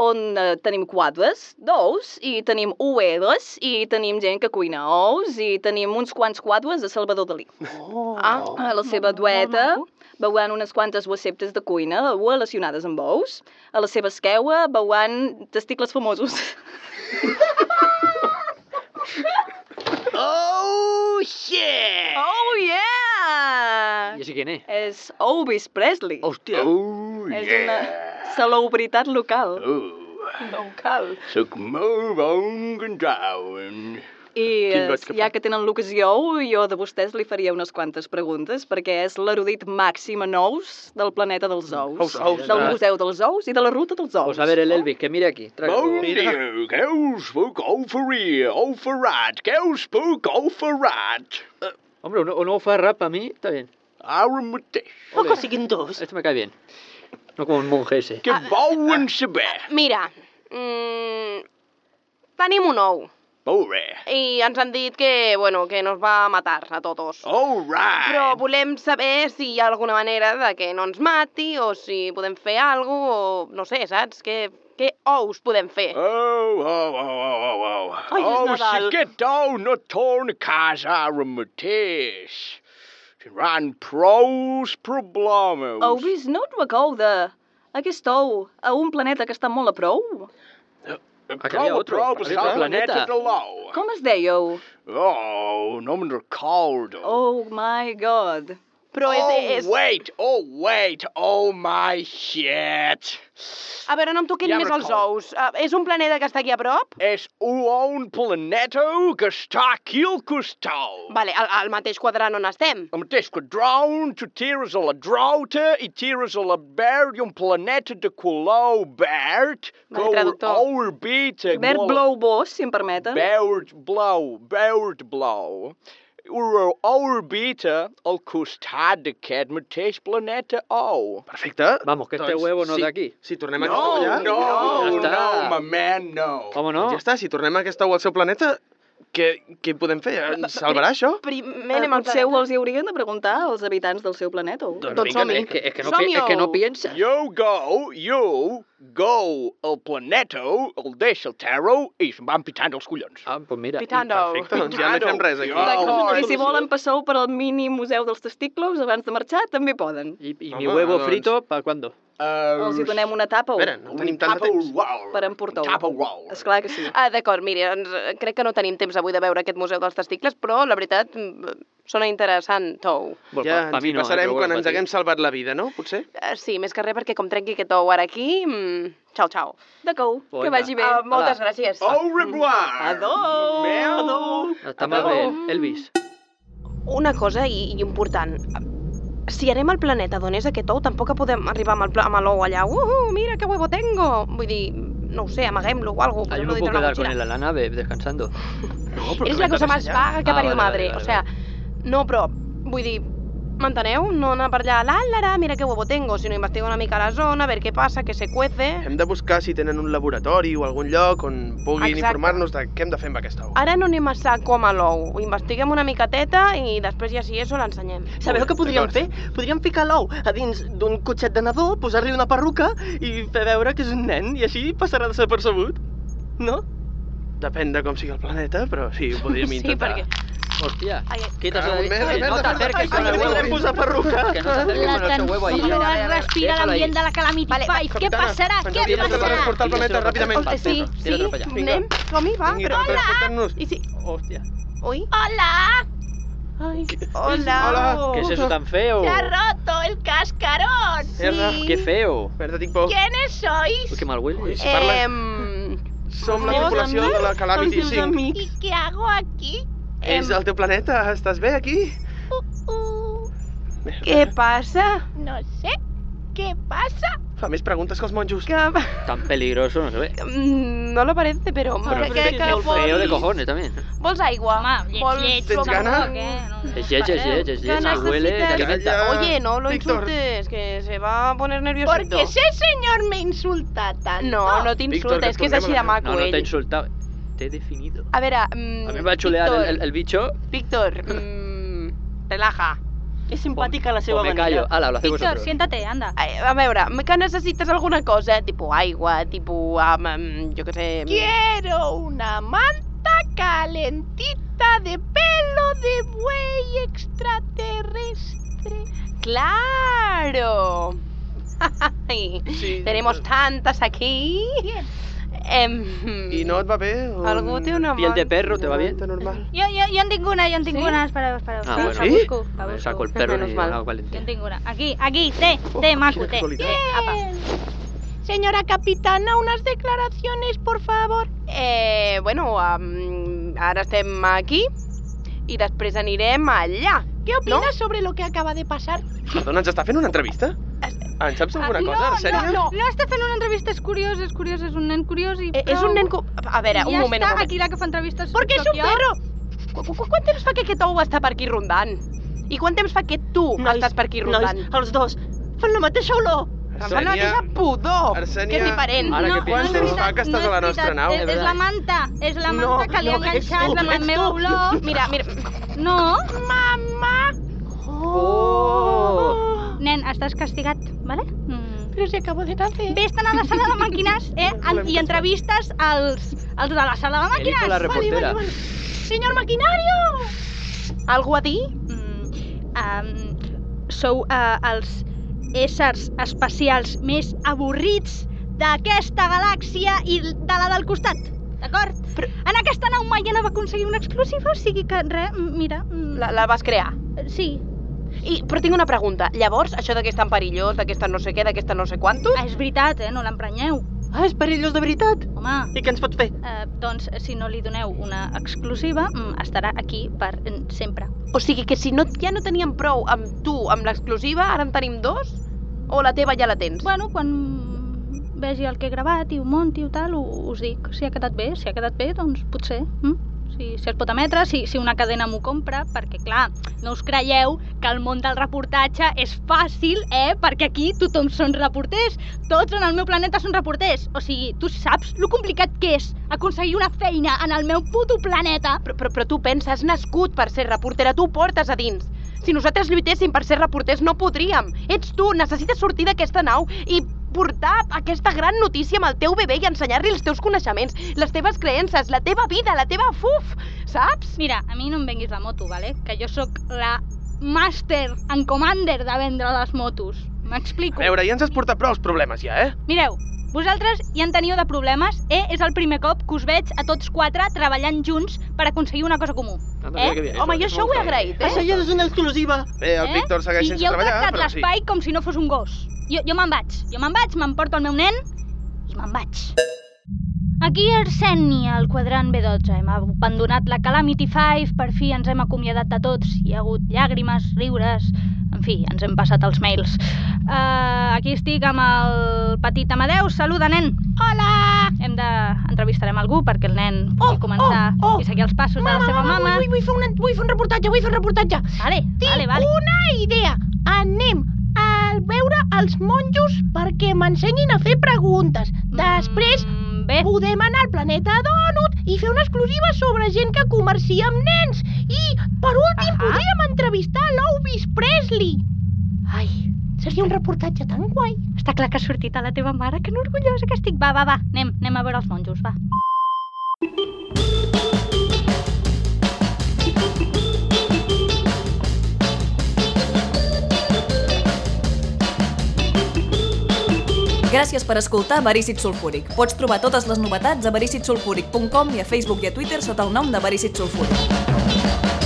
Speaker 1: on eh, tenim quadres d'ous, i tenim ueres, i tenim gent que cuina ous, i tenim uns quants quadres de Salvador Dalí.
Speaker 4: Oh.
Speaker 1: Ah, a la seva dueta veuran unes quantes receptes de cuina relacionades amb ous. A la seva esqueua veuran testicles famosos.
Speaker 8: Oh, shit!
Speaker 1: Oh, yeah!
Speaker 5: ¿Y ese quién es?
Speaker 1: És Elvis Presley.
Speaker 5: Hostia.
Speaker 10: Oh,
Speaker 1: És una
Speaker 10: yeah.
Speaker 1: celebritat local.
Speaker 10: Oh,
Speaker 7: No cal.
Speaker 10: sóc molt bon control.
Speaker 1: I
Speaker 6: Quin
Speaker 1: eh,
Speaker 6: goig que
Speaker 1: ja
Speaker 6: fa.
Speaker 1: que tenen l'ocasió, jo de vostès li faria unes quantes preguntes, perquè és l'erudit màxim en ous del planeta dels ous.
Speaker 6: Mm. Ous, ous,
Speaker 1: del
Speaker 6: ah.
Speaker 1: Museu dels Ous i de la Ruta dels Ous.
Speaker 5: Pues a ver, el Elvis, que mire aquí. Traga el
Speaker 10: Bon
Speaker 5: huevo.
Speaker 10: dia, que us puc oferir? Oferat, que us puc oferat?
Speaker 5: Uh, Hombre, un, un ovo farra para mí está bien.
Speaker 10: Ara mateix.
Speaker 4: O que siguin dos.
Speaker 5: Este me cae bien. No como un monje ese.
Speaker 7: Ah.
Speaker 10: Què volen saber?
Speaker 7: Mira, mm, tenim un ou
Speaker 10: Molt bé.
Speaker 7: i ens han dit que, bueno, que nos va a matar a tots.
Speaker 10: All right.
Speaker 7: Però volem saber si hi ha alguna manera de que no ens mati o si podem fer alguna o no sé, saps? Què, què ous podem fer?
Speaker 10: Oh, oh, oh, oh, oh, oh.
Speaker 4: Ai, és
Speaker 10: oh, si
Speaker 4: Nadal.
Speaker 10: aquest dou no torna a casa ara mateix. Tindran prous problemes.
Speaker 5: Oh,
Speaker 1: Elvis, no et recorda Aquí esteu, a un planeta que està molt a prou.
Speaker 5: Aquí había otro, había otro planeta.
Speaker 1: Com es dèieu?
Speaker 12: Oh, no me'n recordo.
Speaker 1: Oh my god.
Speaker 7: Però és...
Speaker 12: oh,
Speaker 7: és...
Speaker 12: wait, oh, wait, oh my shit.
Speaker 7: A veure, no em toquin
Speaker 12: Ja
Speaker 7: més els
Speaker 12: recordo.
Speaker 7: ous. Uh, és un planeta que està aquí a prop?
Speaker 12: És un, un planeta que està aquí al costat.
Speaker 7: Vale, al, al mateix quadrant on estem.
Speaker 12: El mateix quadrant, tu tires a la drauta i tires a la verd i un planeta de color verd que
Speaker 1: Vale, traductor.
Speaker 12: orbita...
Speaker 1: Verd
Speaker 12: molt-
Speaker 1: blau bós, si em permeten.
Speaker 12: Verd blau, verd blau. Ur- Orbita al costat d'aquest mateix planeta ou.
Speaker 6: Perfecte.
Speaker 5: Vamos, que este
Speaker 6: Doncs,
Speaker 5: huevo no es
Speaker 6: sí.
Speaker 5: de aquí.
Speaker 6: Si tornem a
Speaker 12: No,
Speaker 6: aquesta olla...
Speaker 12: no,
Speaker 5: Ja
Speaker 12: no,
Speaker 5: està.
Speaker 12: my man, no.
Speaker 5: ¿Cómo no?
Speaker 6: Ja està, si tornem a aquesta o al seu planeta, què, què podem fer? Ens salvarà això?
Speaker 7: Primer
Speaker 1: Eh,
Speaker 7: anem al
Speaker 1: potser
Speaker 7: seu...
Speaker 1: ho els hi haurien de preguntar als habitants del seu planeta. o-
Speaker 7: Doncs
Speaker 5: Venga,
Speaker 7: som-hi.
Speaker 5: Es que, es que no,
Speaker 7: Som-hi,
Speaker 5: pi- es que no
Speaker 7: ou.
Speaker 5: piensas.
Speaker 12: You go, you go al planeto, el deixa el terro i se'n van pitant els collons.
Speaker 5: Ah, pues mira.
Speaker 7: Pitando.
Speaker 6: Perfecte, doncs ja no fem res aquí.
Speaker 12: Oh,
Speaker 1: I si volen passeu per al mini museu dels testicles abans de marxar, també poden.
Speaker 5: ¿Y, y
Speaker 6: Vamos,
Speaker 5: mi
Speaker 6: Ah,
Speaker 5: huevo
Speaker 6: doncs.
Speaker 5: frito para cuándo?
Speaker 12: Uh,
Speaker 1: Els hi donem una tapa o...
Speaker 6: Espera, no tenim tant de temps.
Speaker 1: Per emportar-ho.
Speaker 12: Tupperware.
Speaker 1: Esclar que sí.
Speaker 7: Ah, D'acord, miri, doncs, eh, crec que no tenim temps avui de veure aquest Museu dels Testicles, però la veritat mm, sona interessant, tou.
Speaker 5: Bueno,
Speaker 6: Ja
Speaker 5: pa- pa
Speaker 6: ens hi
Speaker 5: eh,
Speaker 6: passarem
Speaker 5: però
Speaker 6: quan
Speaker 5: bueno,
Speaker 6: ens
Speaker 5: pa ti.
Speaker 6: haguem salvat la vida, no? Potser?
Speaker 7: Eh, Sí, més que res perquè com trenqui aquest ou ara aquí... Mm, Xau, xau.
Speaker 1: D'acord, que
Speaker 5: Bona.
Speaker 1: vagi bé.
Speaker 7: Uh, moltes
Speaker 5: Hola.
Speaker 7: gràcies.
Speaker 12: Au revoir!
Speaker 7: Adó!
Speaker 12: Adó!
Speaker 5: Està molt bé. Elvis,
Speaker 7: Una cosa i, i important. Si anem al planeta d'on és aquest ou, tampoc podem arribar amb el pla- amb l'ou allà. Uh, mira que huevo tengo! Vull dir, no ho sé, amaguem-lo o alguna cosa.
Speaker 5: ah, yo me puedo quedar con él a la nave descansando. Oh,
Speaker 6: No,
Speaker 7: És la cosa més vaga que
Speaker 5: Ah,
Speaker 7: ha parit
Speaker 5: vale, vale,
Speaker 7: madre.
Speaker 5: vale,
Speaker 7: O sea, no, però, vull dir, m'enteneu? No anar per allà, la, la, la, mira que huevo tengo, sinó investigar una mica la zona, a veure què passa, que se cuece...
Speaker 6: Hem de buscar si tenen un laboratori o algun lloc on puguin
Speaker 7: Exacte.
Speaker 6: informar-nos de què hem de fer amb aquesta ou.
Speaker 7: Ara no anem a sac com a l'ou, ho investiguem una micateta i després ja si és ho l'ensenyem.
Speaker 4: Sabeu què podríem fer?
Speaker 6: D'acord.
Speaker 4: Podríem ficar l'ou a dins d'un cotxet de nadó, posar-li una perruca i fer veure que és un nen i així passarà de ser percebut. No?
Speaker 6: Depèn de com sigui el planeta, però sí, ho podríem
Speaker 7: Sí,
Speaker 6: intentar.
Speaker 7: perquè...
Speaker 5: Hostia.
Speaker 7: Ai,
Speaker 5: Quitas
Speaker 6: Ah,
Speaker 5: el-
Speaker 6: merda,
Speaker 5: Eh, No
Speaker 6: merda.
Speaker 5: te acerques
Speaker 6: Ai,
Speaker 5: con
Speaker 6: que
Speaker 5: el
Speaker 6: li
Speaker 5: huevo.
Speaker 6: podrem posar perruca.
Speaker 5: Que no t'acerquis
Speaker 3: La
Speaker 5: con el seu huevo ahí.
Speaker 3: canción respira
Speaker 5: Déjalo ahí.
Speaker 3: l'ambient de la Calamity
Speaker 7: Vale,
Speaker 3: Five. Què
Speaker 6: Capitana,
Speaker 3: passarà? Què
Speaker 6: Ens hem de
Speaker 3: passarà?
Speaker 6: transportar el planeta ràpidament.
Speaker 5: Hola.
Speaker 7: Sí,
Speaker 5: Tira-te,
Speaker 7: sí,
Speaker 5: tira-te per allà.
Speaker 7: anem, som-hi,
Speaker 1: Ah,
Speaker 7: va,
Speaker 6: Vinga,
Speaker 7: però...
Speaker 6: transportant-nos.
Speaker 7: I si...
Speaker 5: Hostia.
Speaker 7: Ui,
Speaker 3: Hola,
Speaker 7: ai,
Speaker 6: Hola.
Speaker 7: hola!
Speaker 5: ¿Qué es eso tan feo?
Speaker 3: se ha roto el cascarón.
Speaker 6: Merda.
Speaker 5: Qué feo.
Speaker 6: Merda, tinc por.
Speaker 3: ¿Quiénes sois?
Speaker 5: Uy, qué mal huele.
Speaker 6: Si parla...
Speaker 7: Em...
Speaker 6: Som la
Speaker 7: els meus
Speaker 6: tripulació de la Calamity
Speaker 7: els meus
Speaker 6: 5.
Speaker 7: amics.
Speaker 3: ¿Y qué hago aquí?
Speaker 6: És el teu planeta, estàs bé aquí?
Speaker 3: Uh,
Speaker 7: Què passa?
Speaker 3: no sé. ¿Què passa?
Speaker 6: Fa més preguntes que els monjos.
Speaker 7: Que...
Speaker 5: Tan peligroso, no se ve.
Speaker 7: Mm, No lo parece, però...
Speaker 5: Però
Speaker 7: crec
Speaker 5: és
Speaker 7: que,
Speaker 5: molt feo de
Speaker 7: vols-
Speaker 5: cojones también.
Speaker 7: Vols aigua?
Speaker 3: Home, lleig,
Speaker 7: Vols-
Speaker 3: lleig.
Speaker 6: Tens
Speaker 3: com
Speaker 6: gana?
Speaker 3: tampoc, eh? No, no.
Speaker 5: Es yes, es yes, es yes.
Speaker 7: Que
Speaker 5: Y huele
Speaker 7: necesites-
Speaker 5: que alimenta.
Speaker 6: Ah,
Speaker 7: Oye, no lo
Speaker 6: Víctor.
Speaker 7: insultes, que se va a poner nervioso.
Speaker 3: Porque ese señor me insulta tanto.
Speaker 7: No, no
Speaker 6: Víctor,
Speaker 7: t'insulta,
Speaker 6: que
Speaker 7: és que és així de
Speaker 6: tornem a
Speaker 7: maco,
Speaker 5: No, no te he
Speaker 7: ell.
Speaker 5: insultado. Te he definido.
Speaker 7: A veure... Mm,
Speaker 5: A mí me va a chulear el,
Speaker 7: Víctor,
Speaker 5: el- el bicho.
Speaker 7: Víctor, mm, relaja.
Speaker 4: És simpàtica la
Speaker 5: O
Speaker 4: seva
Speaker 5: me
Speaker 4: manera.
Speaker 5: callo. Ala, lo hacéis
Speaker 3: Víctor,
Speaker 5: vosotros.
Speaker 3: siéntate, anda.
Speaker 7: Ai, A veure, que necessites alguna cosa, tipus aigua, tipus, um, um, jo què sé...
Speaker 3: Quiero una manta calentita de pelo de buey extraterrestre.
Speaker 7: ¡Claro! Ay,
Speaker 6: Sí.
Speaker 7: Tenemos tantas aquí. Em,
Speaker 6: I no et va bé? O...
Speaker 7: Algú té una
Speaker 5: Piel de
Speaker 7: manta.
Speaker 5: perro, ¿te va bien?
Speaker 6: normal.
Speaker 3: Jo, jo, jo en tinc una, jo en tinc una, espera, espera,
Speaker 5: Ah,
Speaker 3: espera,
Speaker 5: bueno.
Speaker 3: la
Speaker 5: Sí?
Speaker 3: busco, la
Speaker 5: Me
Speaker 3: busco.
Speaker 5: saco el perro ni
Speaker 7: Menos mal.
Speaker 5: hago
Speaker 3: Jo en
Speaker 5: valentía.
Speaker 3: tinc una. Aquí, aquí, té, té, maco, té.
Speaker 6: casualitat.
Speaker 3: Té, apa.
Speaker 7: Señora capitana, unas declaraciones, por favor. Eh, bueno, em, ara estem aquí i després anirem allà.
Speaker 3: Què
Speaker 7: opines
Speaker 3: sobre lo que acaba de passar?
Speaker 6: Perdona, ens està fent una entrevista? En saps alguna cosa,
Speaker 3: Ah, no,
Speaker 6: Arsènia?
Speaker 3: No, no, està fent una entrevista, és curiós, és curiós, és un nen curiós i
Speaker 7: Eh,
Speaker 3: prou.
Speaker 7: és un nen... co- A veure,
Speaker 3: I
Speaker 7: un
Speaker 3: ja
Speaker 7: moment,
Speaker 3: està,
Speaker 7: un moment.
Speaker 3: aquí la que fa entrevistes
Speaker 7: Perquè és
Speaker 3: sóc
Speaker 4: eh?
Speaker 7: un
Speaker 3: jo.
Speaker 7: perro! Qu -qu quant temps fa que aquest ou està per aquí rondant? I quant temps fa que tu
Speaker 4: Nois,
Speaker 7: estàs per aquí
Speaker 4: Nois,
Speaker 7: rondant?
Speaker 4: els dos fan la mateixa olor.
Speaker 7: Em fa la mateixa pudor,
Speaker 6: Arsènia,
Speaker 7: que és diferent.
Speaker 6: Ara que
Speaker 3: és
Speaker 6: penso,
Speaker 3: veritat,
Speaker 6: fa que estàs
Speaker 3: no és
Speaker 6: a la
Speaker 3: veritat,
Speaker 6: nostra nau,
Speaker 3: És,
Speaker 6: és
Speaker 3: és la manta, és la
Speaker 4: No,
Speaker 3: manta que li ha
Speaker 4: no,
Speaker 3: enganxat
Speaker 4: ets tu,
Speaker 3: amb el
Speaker 4: ets
Speaker 3: meu
Speaker 4: tu.
Speaker 3: olor.
Speaker 7: Mira, mira...
Speaker 3: No,
Speaker 7: Mamà!
Speaker 5: Oh.
Speaker 3: nen, estàs castigat, vale? Mm.
Speaker 7: Però si acabo de nacer.
Speaker 3: Vés-te'n a la sala de màquines eh? en, i entrevistes als, als de la sala de
Speaker 5: Elijo
Speaker 3: màquines.
Speaker 5: la reportera.
Speaker 3: Senyor maquinario!
Speaker 7: Algú a dir?
Speaker 3: Mm, um, sou uh, els éssers espacials més avorrits d'aquesta galàxia i de la del costat, d'acord? Però... En aquesta nau Maiana va aconseguir una exclusiva, o sigui que, res, m- mira... mm,
Speaker 7: La, la vas crear?
Speaker 3: Sí.
Speaker 7: I, però tinc una pregunta. Llavors, això de que és tan perillós, d'aquesta no sé què, d'aquesta no sé quantos...
Speaker 3: És veritat, eh? No l'emprenyeu.
Speaker 7: Ah, és perillós de veritat?
Speaker 3: Home...
Speaker 7: I què ens pot fer?
Speaker 3: Eh, doncs, si no li doneu una exclusiva, mm, estarà aquí per mm, sempre.
Speaker 7: O sigui que si no, ja no teníem prou amb tu, amb l'exclusiva, ara en tenim dos? O la teva ja la tens?
Speaker 3: Bueno, quan vegi el que he gravat i ho monti o tal, ho- us dic. Si ha quedat bé, si ha quedat bé, doncs potser. Mm? Si, si es pot emetre, si, si una cadena m'ho compra, perquè clar, no us creieu que el món del reportatge és fàcil, eh? Perquè aquí tothom són reporters, tots en el meu planeta són reporters. O sigui, tu saps lo complicat que és aconseguir una feina en el meu puto planeta?
Speaker 7: Però, però, però tu pensa, has nascut per ser reportera, tu ho portes a dins. Si nosaltres lluitéssim per ser reporters no podríem. Ets tu, necessites sortir d'aquesta nau i portar aquesta gran notícia amb el teu bebè i ensenyar-li els teus coneixements, les teves creences, la teva vida, la teva fuf, saps?
Speaker 3: Mira, a mi no em venguis la moto, vale? que jo sóc la màster en commander de vendre les motos.
Speaker 6: A
Speaker 3: M'explico.
Speaker 6: veure, ja ens has portat prou problemes, ja, eh?
Speaker 3: Mireu, vosaltres ja en teniu de problemes, eh? És el primer cop que us veig a tots quatre treballant junts per aconseguir una cosa comú.
Speaker 6: mira que bé,
Speaker 3: Eh?
Speaker 4: Oh
Speaker 6: Home, jo és això ho he molt agraït, bé. eh?
Speaker 4: Això ja és una exclusiva.
Speaker 6: Bé, Eh, el Víctor segueix
Speaker 3: I,
Speaker 6: sense
Speaker 3: i heu
Speaker 6: treballar,
Speaker 3: tractat
Speaker 6: però sí.
Speaker 3: l'espai com si no fos un gos. Jo, jo me'n vaig, jo me'n vaig, m'emporto el meu nen i me'n vaig. Aquí Arseni, al quadrant B12. Hem abandonat la Calamity 5, per fi ens hem acomiadat de tots. Hi ha hagut llàgrimes, riures... En fi, ens hem passat els mails. Uh, aquí estic amb el petit Amadeu. Saluda, nen. Hola! Hem de... entrevistarem algú perquè el nen pugui oh, començar oh, oh. i seguir els passos de la seva mama.
Speaker 8: Vull, vull, fer un, vull fer un reportatge, vull fer un reportatge.
Speaker 3: Vale,
Speaker 8: Tinc
Speaker 3: vale, vale.
Speaker 8: una idea. Anem a veure els monjos perquè m'ensenyin a fer preguntes.
Speaker 7: Mm,
Speaker 8: Després
Speaker 3: bé.
Speaker 8: podem anar al planeta Donut i fer una exclusiva sobre gent que comercia amb nens. I, per últim, podríem entrevistar l'Elvis Presley. Ai, seria un reportatge tan guai.
Speaker 3: Està clar que ha sortit a la teva mare, que no orgullosa que estic. Va, va, va, anem, anem a veure els monjos, va.
Speaker 1: Gràcies per escoltar Verícit Sulfúric. Pots trobar totes les novetats a vericitsulfúric.com i a Facebook i a Twitter sota el nom de Verícit Sulfúric.